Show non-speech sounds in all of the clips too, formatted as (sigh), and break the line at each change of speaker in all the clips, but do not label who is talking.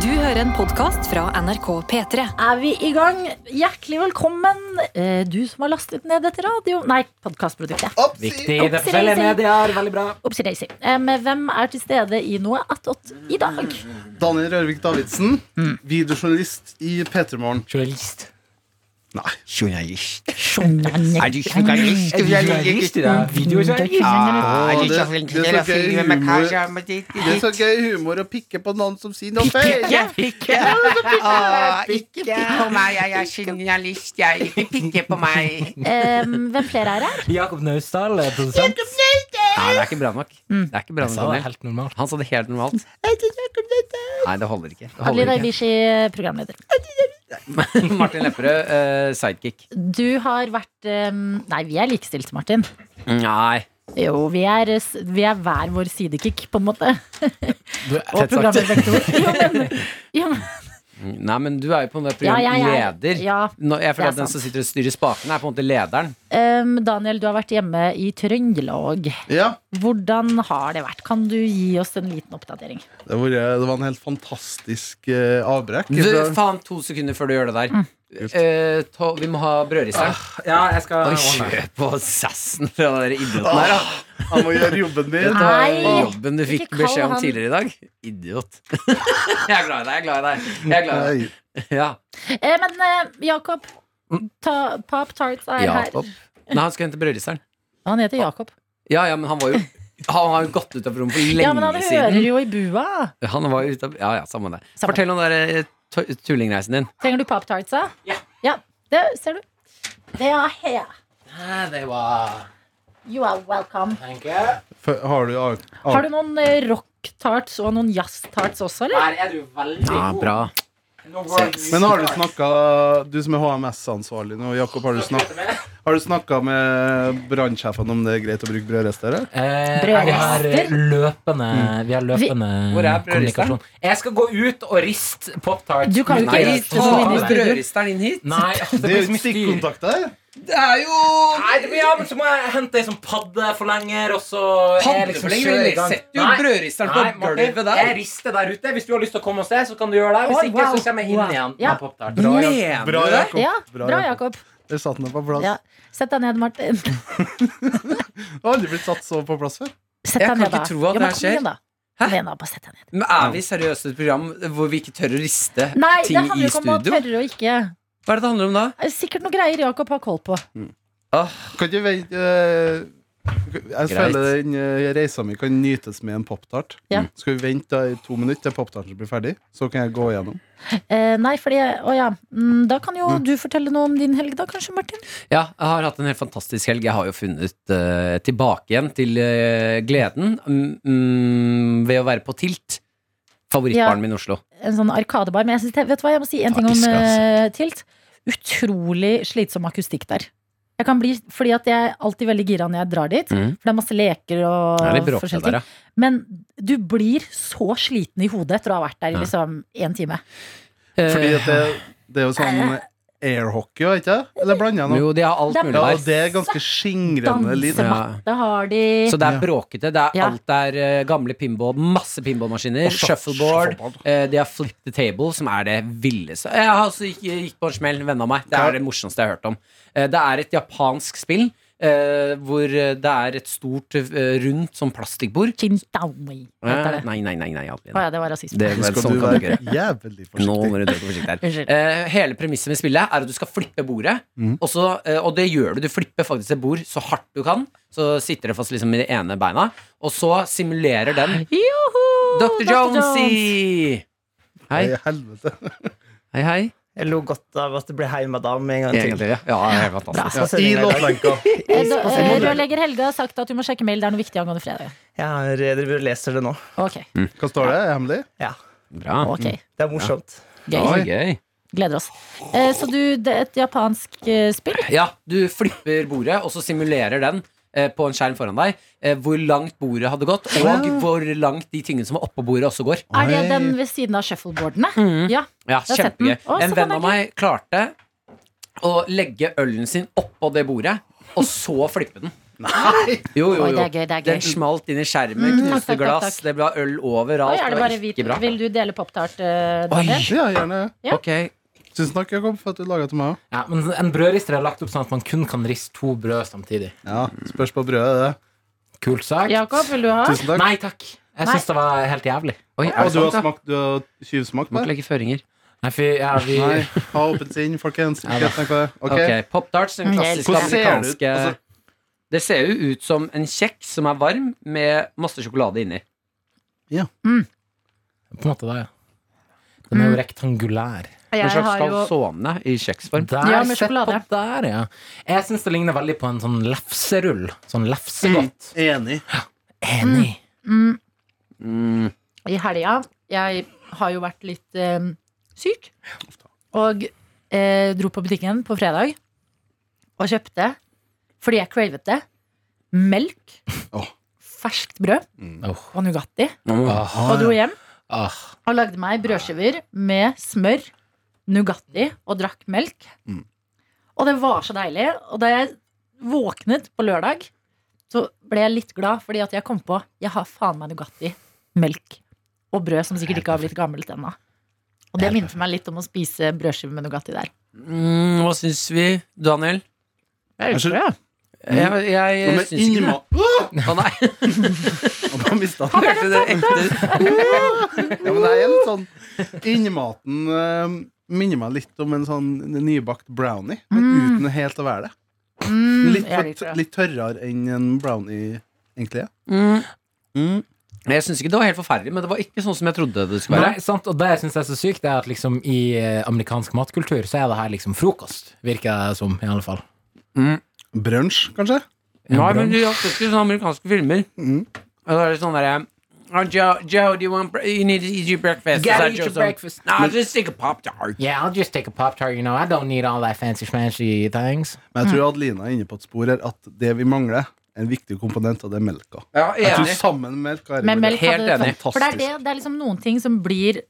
Du hører en podkast fra NRK P3.
er vi i gang. Hjertelig velkommen, eh, du som har lastet ned dette radio... Nei, podkastproduktet.
Viktig. Det er forskjellige medier. Veldig bra.
Oppsi-daisy. Eh, men hvem er til stede i noe attåt i dag?
Daniel Rørvik Davidsen, videojournalist i P3 Morgen.
Journalist.
Nei.
Journalist. Er du
Journalist.
journalist?
Er du journalist i dag? Videojournalist?
Ah,
Åh,
det
det-
er så flink
det er så
til å
gøy
filme med
humor.
kanskje, men det-
Det er så gøy humor å pikke på noen som sier noe feil.
Ah, Ikke pikk på meg, jeg er journalist, jeg. Ikke pikke på meg.
Eh, hvem flere er her?
Jakob Naustdal, eh, produsent.
Nei, det er ikke bra nok. Det er ikke bra nok,
Så det er
Daniel.
helt normalt.
Han sa det helt normalt. Nei, det holder ikke. Det holder
Adelina
ikke.
Ibishi, programleder.
(laughs) Martin Lepperød, eh, sidekick.
Du har vært eh, Nei, vi er likestilt, Martin.
Nei.
Jo, vi er, eh, s- vi er hver vår sidekick, på en måte. Og
Tett sagt.
programledervektor. Jo, men,
(laughs)
jo, men,
Nei, men du er jo på en måte
ja, jeg er-
programleder.
Ja,
Nå, jeg
det er
føler at den
sant.
som sitter og styrer spaken, er på en måte lederen.
Em, Daniel, du har vært hjemme i Trøndelag.
Ja,
Hvordan har det vært? Kan du gi oss en liten oppdatering?
det var, eh, det var en helt fantastisk eh, avbrekk.
Du,
Fra,
faen, to sekunder før du gjør det der. Eh, to, vi må ha brødristeren.
Ja, jeg skal
Oi,
ordne.
kjør på sassen fra den der idioten her, da.
Ah, han må gjøre jobben din.
Dette var jo
Nei,
jobben du fikk
ikke kall
beskjed om
han-
tidligere i dag. Idiot. (laughs) Jeg er glad i deg, jeg er glad i deg. Jeg er glad i deg.
Nei.
Ja.
Eh, men eh, Jakob ta, Pop Tarts er her.
Jakob. Nei, han skulle hente brødristeren.
Han heter Jakob.
Ja, ja, men han var jo Han har jo gått ut av rommet for lenge
Ja, men han hører
siden.
jo i bua.
Han var jo ute av Ja, ja, samme det.
Samme.
Fortell om den der, eh, tu- tullingreisen din.
Trenger du Pop Tarts? da?
Ja.
Det ser du. Det er her.
Det var
You are welcome.
For- Har du av...
Har du noen eh, rock tarts og noen jazz tarts også, eller?
er du veldig
Ja, bra.
Men har du snakka Du som er HMS-ansvarlig nå, Jakob, har du snakka, har du snakka med brannsjefen om det er greit å bruke brødrester? eller?
Eh, vi har
Brødrester?
løpende, vi har løpende
Hvor er brødristeren?
kommunikasjon. Jeg skal gå ut og riste Pop-Tarts.
Du kan jo ikke
Nei,
riste så mye
ta
i studio.
brødristeren inn hit.
Nei, altså, det
Det er
blir så
jo
mye styr.
stikkontakter her.
Det er jo
Nei, det blir, ja, men så må jeg hente ei sånn paddeforlenger, og så er liksom kjør i gang.
Sett jo
Nei.
brødristeren
Nei,
på
Martin,
gulvet der.
jeg rister der ute. Hvis du har lyst til å komme og se, så kan du gjøre det. Hvis
Oi,
ikke,
wow.
så kommer jeg inn
Wow.
igjen. med
Ja.
Pop-Tart.
Bra,
Bra,
Jakob. Mener du det?
Jakob.
Ja,
Bra,
bra,
Jakob.
Jakob.
Der satt den på plass.
Ja. Sett deg ned, Martin.
Jeg har aldri blitt satt så på plass før.
(laughs) Sett
Jeg
deg
kan
ned,
ikke
da.
tro
Ja,
at
men
det her
kom
skjer.
igjen, da. Kom igjen, da. Bare sett deg ned.
Men er vi seriøst et program hvor vi ikke tør å riste
Nei, det
ting
handler
i
jo ikke om å
studio?
tørre og ikke.
Hva er det det handler om da?
Det er Sikkert noen greier Jakob har koll på.
Åh,
Kan ikke vente eh, Jeg
Greit.
føler den eh, reisa mi kan nytes med en poptart. Mm.
Ja.
Skal vi vente da i to minutter til poptarten blir ferdig? Så kan jeg gå gjennom.
Eh, nei, fordi Å ja. Mm, Da kan jo du fortelle noe om din helg, da kanskje, Martin?
Ja, jeg har hatt en helt fantastisk helg. Jeg har jo funnet eh, tilbake igjen til eh, gleden mm, mm, ved å være på Tilt. Favorittbaren
Ja.
min i Oslo.
En sånn arkadebar. Men jeg synes, det- vet du hva, jeg må si en
Ja,
ting om
iska,
eh, Tilt. Utrolig slitsom akustikk der. Jeg kan bli, fordi at jeg er alltid veldig gira når jeg drar dit.
Mm.
For det er masse leker og
Det er litt bråkete
forskjellige
der,
ting.
ja.
Men du blir så sliten i hodet etter å ha vært der i
Ja.
liksom én time.
Eh.
Fordi at det, det er jo sånn airhockey, vet ikke? Eller blander jeg nå?
Jo, de har alt
Det er
mulig
Ja,
der.
og det er ganske skingrende lyd.
Ja.
Dansematte har de.
Så det er bråkete. Det er
Ja.
alt der eh, gamle pinball, masse pinballmaskiner, shuffleboard. eh, de har flip the table, som er det villeste. Jeg har også gikk, gikk på en smell, en venn av meg. Det
Ja.
er det morsomste jeg har hørt om. Eh, det er et japansk spill. eh, hvor eh, det er et stort, eh, rundt sånn plastikkbord.
Chintaumi, heter
Eh,
det.
nei, nei, nei. nei Adeline.
Å ja, det var rasisme.
Det,
Nå
men,
skal
sånn
du
kan du ikke
være
gjøre.
jævlig
Nå
forsiktig.
må du dra på forsiktig her.
(laughs) Unnskyld.
Eh, hele premisset med spillet er at du skal flippe bordet.
Mhm.
Og, så, eh, og det gjør du. Du flipper faktisk et bord så hardt du kan. Så sitter det fast liksom i det ene beina. Og så simulerer den
Joho!
Dr. Jonesy! Hei,
Nei, helvete.
hei, hei.
Jeg lo godt av at det ble Hei, madam en gang til.
Egentlig, ja. Ja, det er helt fantastisk.
Ja, I
Sendingen i dag.
låtlenka.
Eh, da- eh, Rørlegger Helge har sagt at du må sjekke mail. Det er noe viktig angående fredag.
Jeg har- eh, jeg driver og leser det nå.
Ok,
Hva står det? Hemmelig?
Ja,
Bra.
ok,
Det er morsomt.
Oi.
Gøy.
Gøy.
Gleder oss. Eh, Så du, det er et japansk eh, spill?
Ja, du flipper bordet, og så simulerer den eh, på en skjerm foran deg eh, hvor langt bordet hadde gått, og hvor langt de tingene som var oppå bordet, også går.
Er det
Oi.
den ved siden av shuffleboardene? Ja.
Ja,
Jeg har sett den.
kjempegøy.
Å, så
En venn
den er
av meg
(laughs)
klarte å legge ølen sin oppå det bordet, og så flippe den.
Nei!
Jo, jo,
Oi,
jo.
det er gøy, det er gøy.
Den smalt inn i skjermen,
Mm, takk,
knuste
takk,
glass,
takk.
det ble øl
Oi,
overalt.
er
Det
det
var
bare hvit?
ikke bra.
Vil du dele Pop-Tart, eh,
Oi.
Daniel?
Ja, gjerne.
Ja.
Ok,
Tusen takk, Jakob, for at du laga til meg òg.
Ja, men En brødrister er lagt opp sånn at man kun kan riste to brød samtidig.
Ja, spørs på brødet, det.
Kult sak.
Jakob, vil du ha?
Tusen takk.
Nei takk. Jeg syns det var helt jævlig.
Oi, er
Og
det
du har
sant, da?
smakt, du har tjuvsmakt på
Må ikke
det?
legge føringer.
Nei, fy, ja, vi,
Nei. Ha åpent sinn, folkens.
Ja da.
Ikke tenk på det. Ok.
Ok, Pop Tarts, den
Mm, jeg
klassiske
elsker det. Hvordan ser det ut?
amerikanske
Altså-
Det ser jo ut som en kjeks som er varm, med masse sjokolade inni.
På en måte da, ja. Den
Mm.
er jo rektangulær.
En
Jeg
slags
har jo
calzone i kjeksform.
Der,
Ja, med
sett på
sjokolade.
Der, ja. Jeg syns det ligner veldig på en sånn lefserull. Sånn lefsegodt.
Enig.
Enig.
Mm.
i helga Jeg har jo vært litt eh, syk. Og eh, dro på butikken på fredag og kjøpte, fordi jeg cravet det, melk,
Åh.
ferskt brød
Åh.
og Nugatti.
mm.
Åh.
Og dro hjem
Åh.
og lagde meg brødskiver med smør, Nugatti og drakk melk.
Mm.
Og det var så deilig. Og da jeg våknet på lørdag, så ble jeg litt glad fordi at jeg kom på jeg har faen meg Nugatti, melk og brød som sikkert ikke har blitt gammelt ennå. Og det minner meg litt om å spise brødskive med Nugatti der.
Mm, hva syns vi, Daniel?
Jeg skjønner-
Jeg,
Mm. Nå
jeg
med
syns ikke det.
innma- Åh!
Å (laughs) nei,
Jeg bare mistet den.
hørte dere ekte
Ja, men det er en sånn Innmaten eh, minner meg litt om en sånn nybakt brownie, men uten helt å være det. Litt,
Mm. jeg liker
for,
det.
litt tørrere enn en brownie, egentlig. er. Mm.
Jeg syns ikke det var helt forferdelig, men det var ikke sånn som jeg trodde det skulle være.
Nei, sant, og det jeg syns er så sykt, det er at liksom i eh, amerikansk matkultur så er det her liksom frokost, virker det som, i alle fall.
Brunsj, kanskje?
Nei, men du har sett i sånne amerikanske filmer. Og da er det sånn derre oh, Joe, Joe, do you want bre- you need to eat your breakfast?
Gotta
Så er
eat
Joe
your
sånn,
breakfast.
No, just take a pop tart.
Yeah, I'll just take a pop tart, you know. I don't need all that fancy smashy things.
Men jeg
Mm.
tror Adelina er inne på et spor her at det vi mangler, er en viktig komponent, og det er melka.
Ja,
Jeg tror
enig.
sammen med melka er det
Men melk
Helt
hadde-
enig.
For det er, det, det er liksom noen ting som blir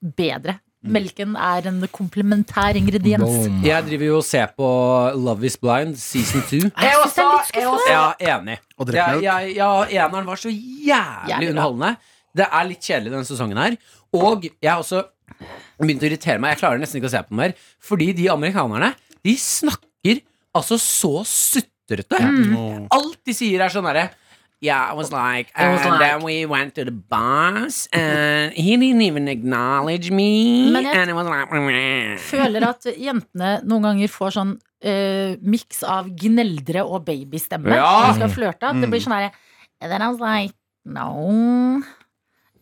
bedre. Melken er en komplementær ingrediens.
Boom.
Jeg driver jo og ser på Love Is Blind season 2.
Jeg synes det er litt skuffende.
Ja, enig.
Og drikke
Jeg,
melk.
jeg, ja, eneren var så
Jævlig bra.
jævlig underholdende. Det er litt kjedelig denne sesongen her. Og jeg har også begynt å irritere meg. Jeg klarer nesten ikke å se på den mer. Fordi de amerikanerne, de snakker altså så sutrete.
Åh.
Alt de sier er sånn derre Yeah, I was like, uh,
was
and
like-
then we went to the bus, and he didn't even acknowledge me.
Men jeg-
and it was like
føler at jentene noen ganger får sånn uh, miks av gneldre og babystemme.
Ja.
Når de
Mm.
skal flørte. At det blir sånn herre And then I was like, no.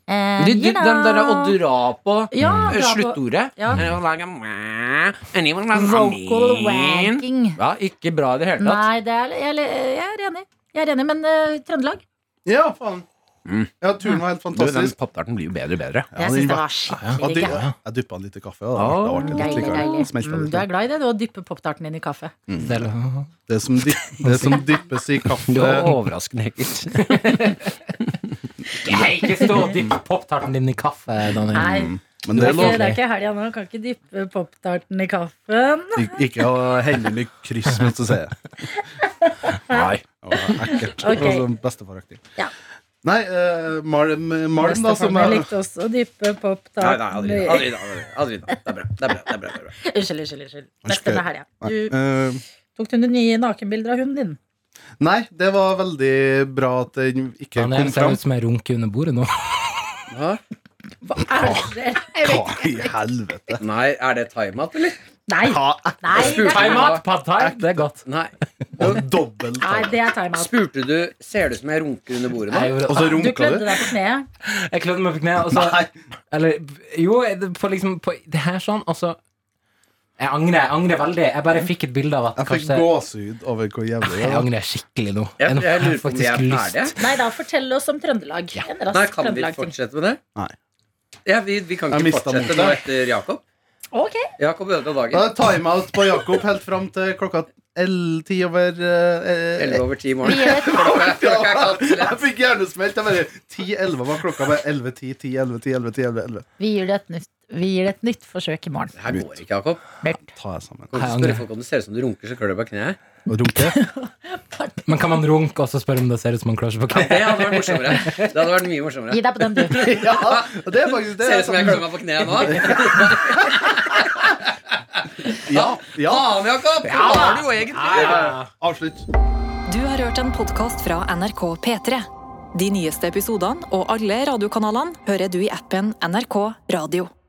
And,
Du- du-
you
Den der å
know.
dra på
ja,
eh,
dra på-
sluttordet Eh,
Ja.
and it was like, "Mwah," and it was like,
Vocal
"Amen."
wanking.
Ja, ikke bra i det hele tatt.
Nei, det er, jeg, jeg er enig. Jeg er enig, men eh, Trøndelag
Ja, faen.
Mm.
Ja, turen var helt
Du, den
fantastisk.
poptarten blir jo bedre og bedre.
Ja,
Jeg syns
den
det
var-
var skikkelig
Ja,
digg.
du- Jeg duppa en liter kaffe. Og
Åh.
da ble det litt
Deilig,
likere.
deilig.
Smelta
Mm,
litt.
du er glad i det, du, å dyppe poptarten din i kaffe.
Det som, dyp, det som dyppes i kaffe
Det var
(laughs)
overraskende ekkelt.
Nei, ikke stå og dyppe pop-tarten din i kaffe,
Mm.
Daniel.
Nei, det
Men det
er ikke,
lå
det er ikke helga nå. Kan ikke dyppe poptarten i kaffen.
Ik ikke å helle den i kryss mens du sier det.
Nei.
Det var Ekkelt.
Ok.
Okay. Bestefaraktig.
Ja.
Nei, eh, Malm, Malm da, som
Bestefaren min
er
likte også dype
Nei,
poptarten.
nei, aldri.
i-
Aldri, aldri, aldri. Det er bra. Det er bra. Det er bra, det er bra.
Unnskyld, unnskyld. unnskyld.
Unnskyld.
Beste med helga.
Nei,
Du
eh,
tok du nye nakenbilder av hunden din?
nei, det var veldig bra at den ikke
Daniel
kom
ser
fram.
ut som en runke under bordet nå.
Hæ?
Hva er det?
Hva i helvete?
Nei, er det time-out, eller?
Nei,
Ha,
(laughs)
nei, det er-
(laughs)
Time-out,
Pad thai, det er godt.
Nei.
dobbelt
nei, det er timeout.
Spurte du Ser det ut som jeg runker under bordet nå?
Og så
Du
runka
klødde
du?
deg på kneet.
Jeg klødde meg på kneet, og så
Nei.
Eller jo, det- på liksom på, Det her sånn, altså Jeg angrer, jeg angrer veldig. Jeg bare fikk et bilde av at
Jeg fikk
kanskje
gåsehud over hvor jævlig det
Jeg
var.
angrer skikkelig nå.
Jeg,
nå
jeg
har
lurer på om vi er ferdige.
Nei da, fortell oss om Trøndelag. En rask
Nei, kan vi
Trøndelag-ting.
fortsette med det?
Nei.
Ja, vi, vi kan
Jeg
ikke
mistet
fortsette
motet.
nå etter Jakob.
Ok,
Jakob ødela
Da
dagen.
er timeout på Jakob helt fram til klokka el- ti over eh, (laughs) eh,
11 over 10 i
vi
morgen.
gjør et
Klokka er- klokka er kaldt, så lett.
Jeg fikk hjernesmelt. Jeg bare 10-11 var klokka. Bare 11, 10, 10, 11, 10, 11, 10, 11, 11.
Vi gir det et nytt, vi gir det et nytt forsøk i morgen.
Her går ikke, Jakob.
Ta jeg sammen.
Kan du
Jeg
ikke
angrer.
spørre folk om det ser ut som du runker, så klør det på kneet.
Og runke.
Men kan man runke og så spørre om det ser ut som man klør seg på (laughs) kne?
Det hadde vært morsommere. Det hadde vært mye morsommere.
Gi deg på den, du.
(laughs) ja, og det er sånn- faktisk det.
Ser ut som jeg klør meg på kneet nå.
Ja, ja.
Faen, Jakob! Hva har du jo egentlig?
Avslutt.
Du har hørt en podkast fra NRK P3. De nyeste episodene og alle radiokanalene hører du i appen NRK Radio.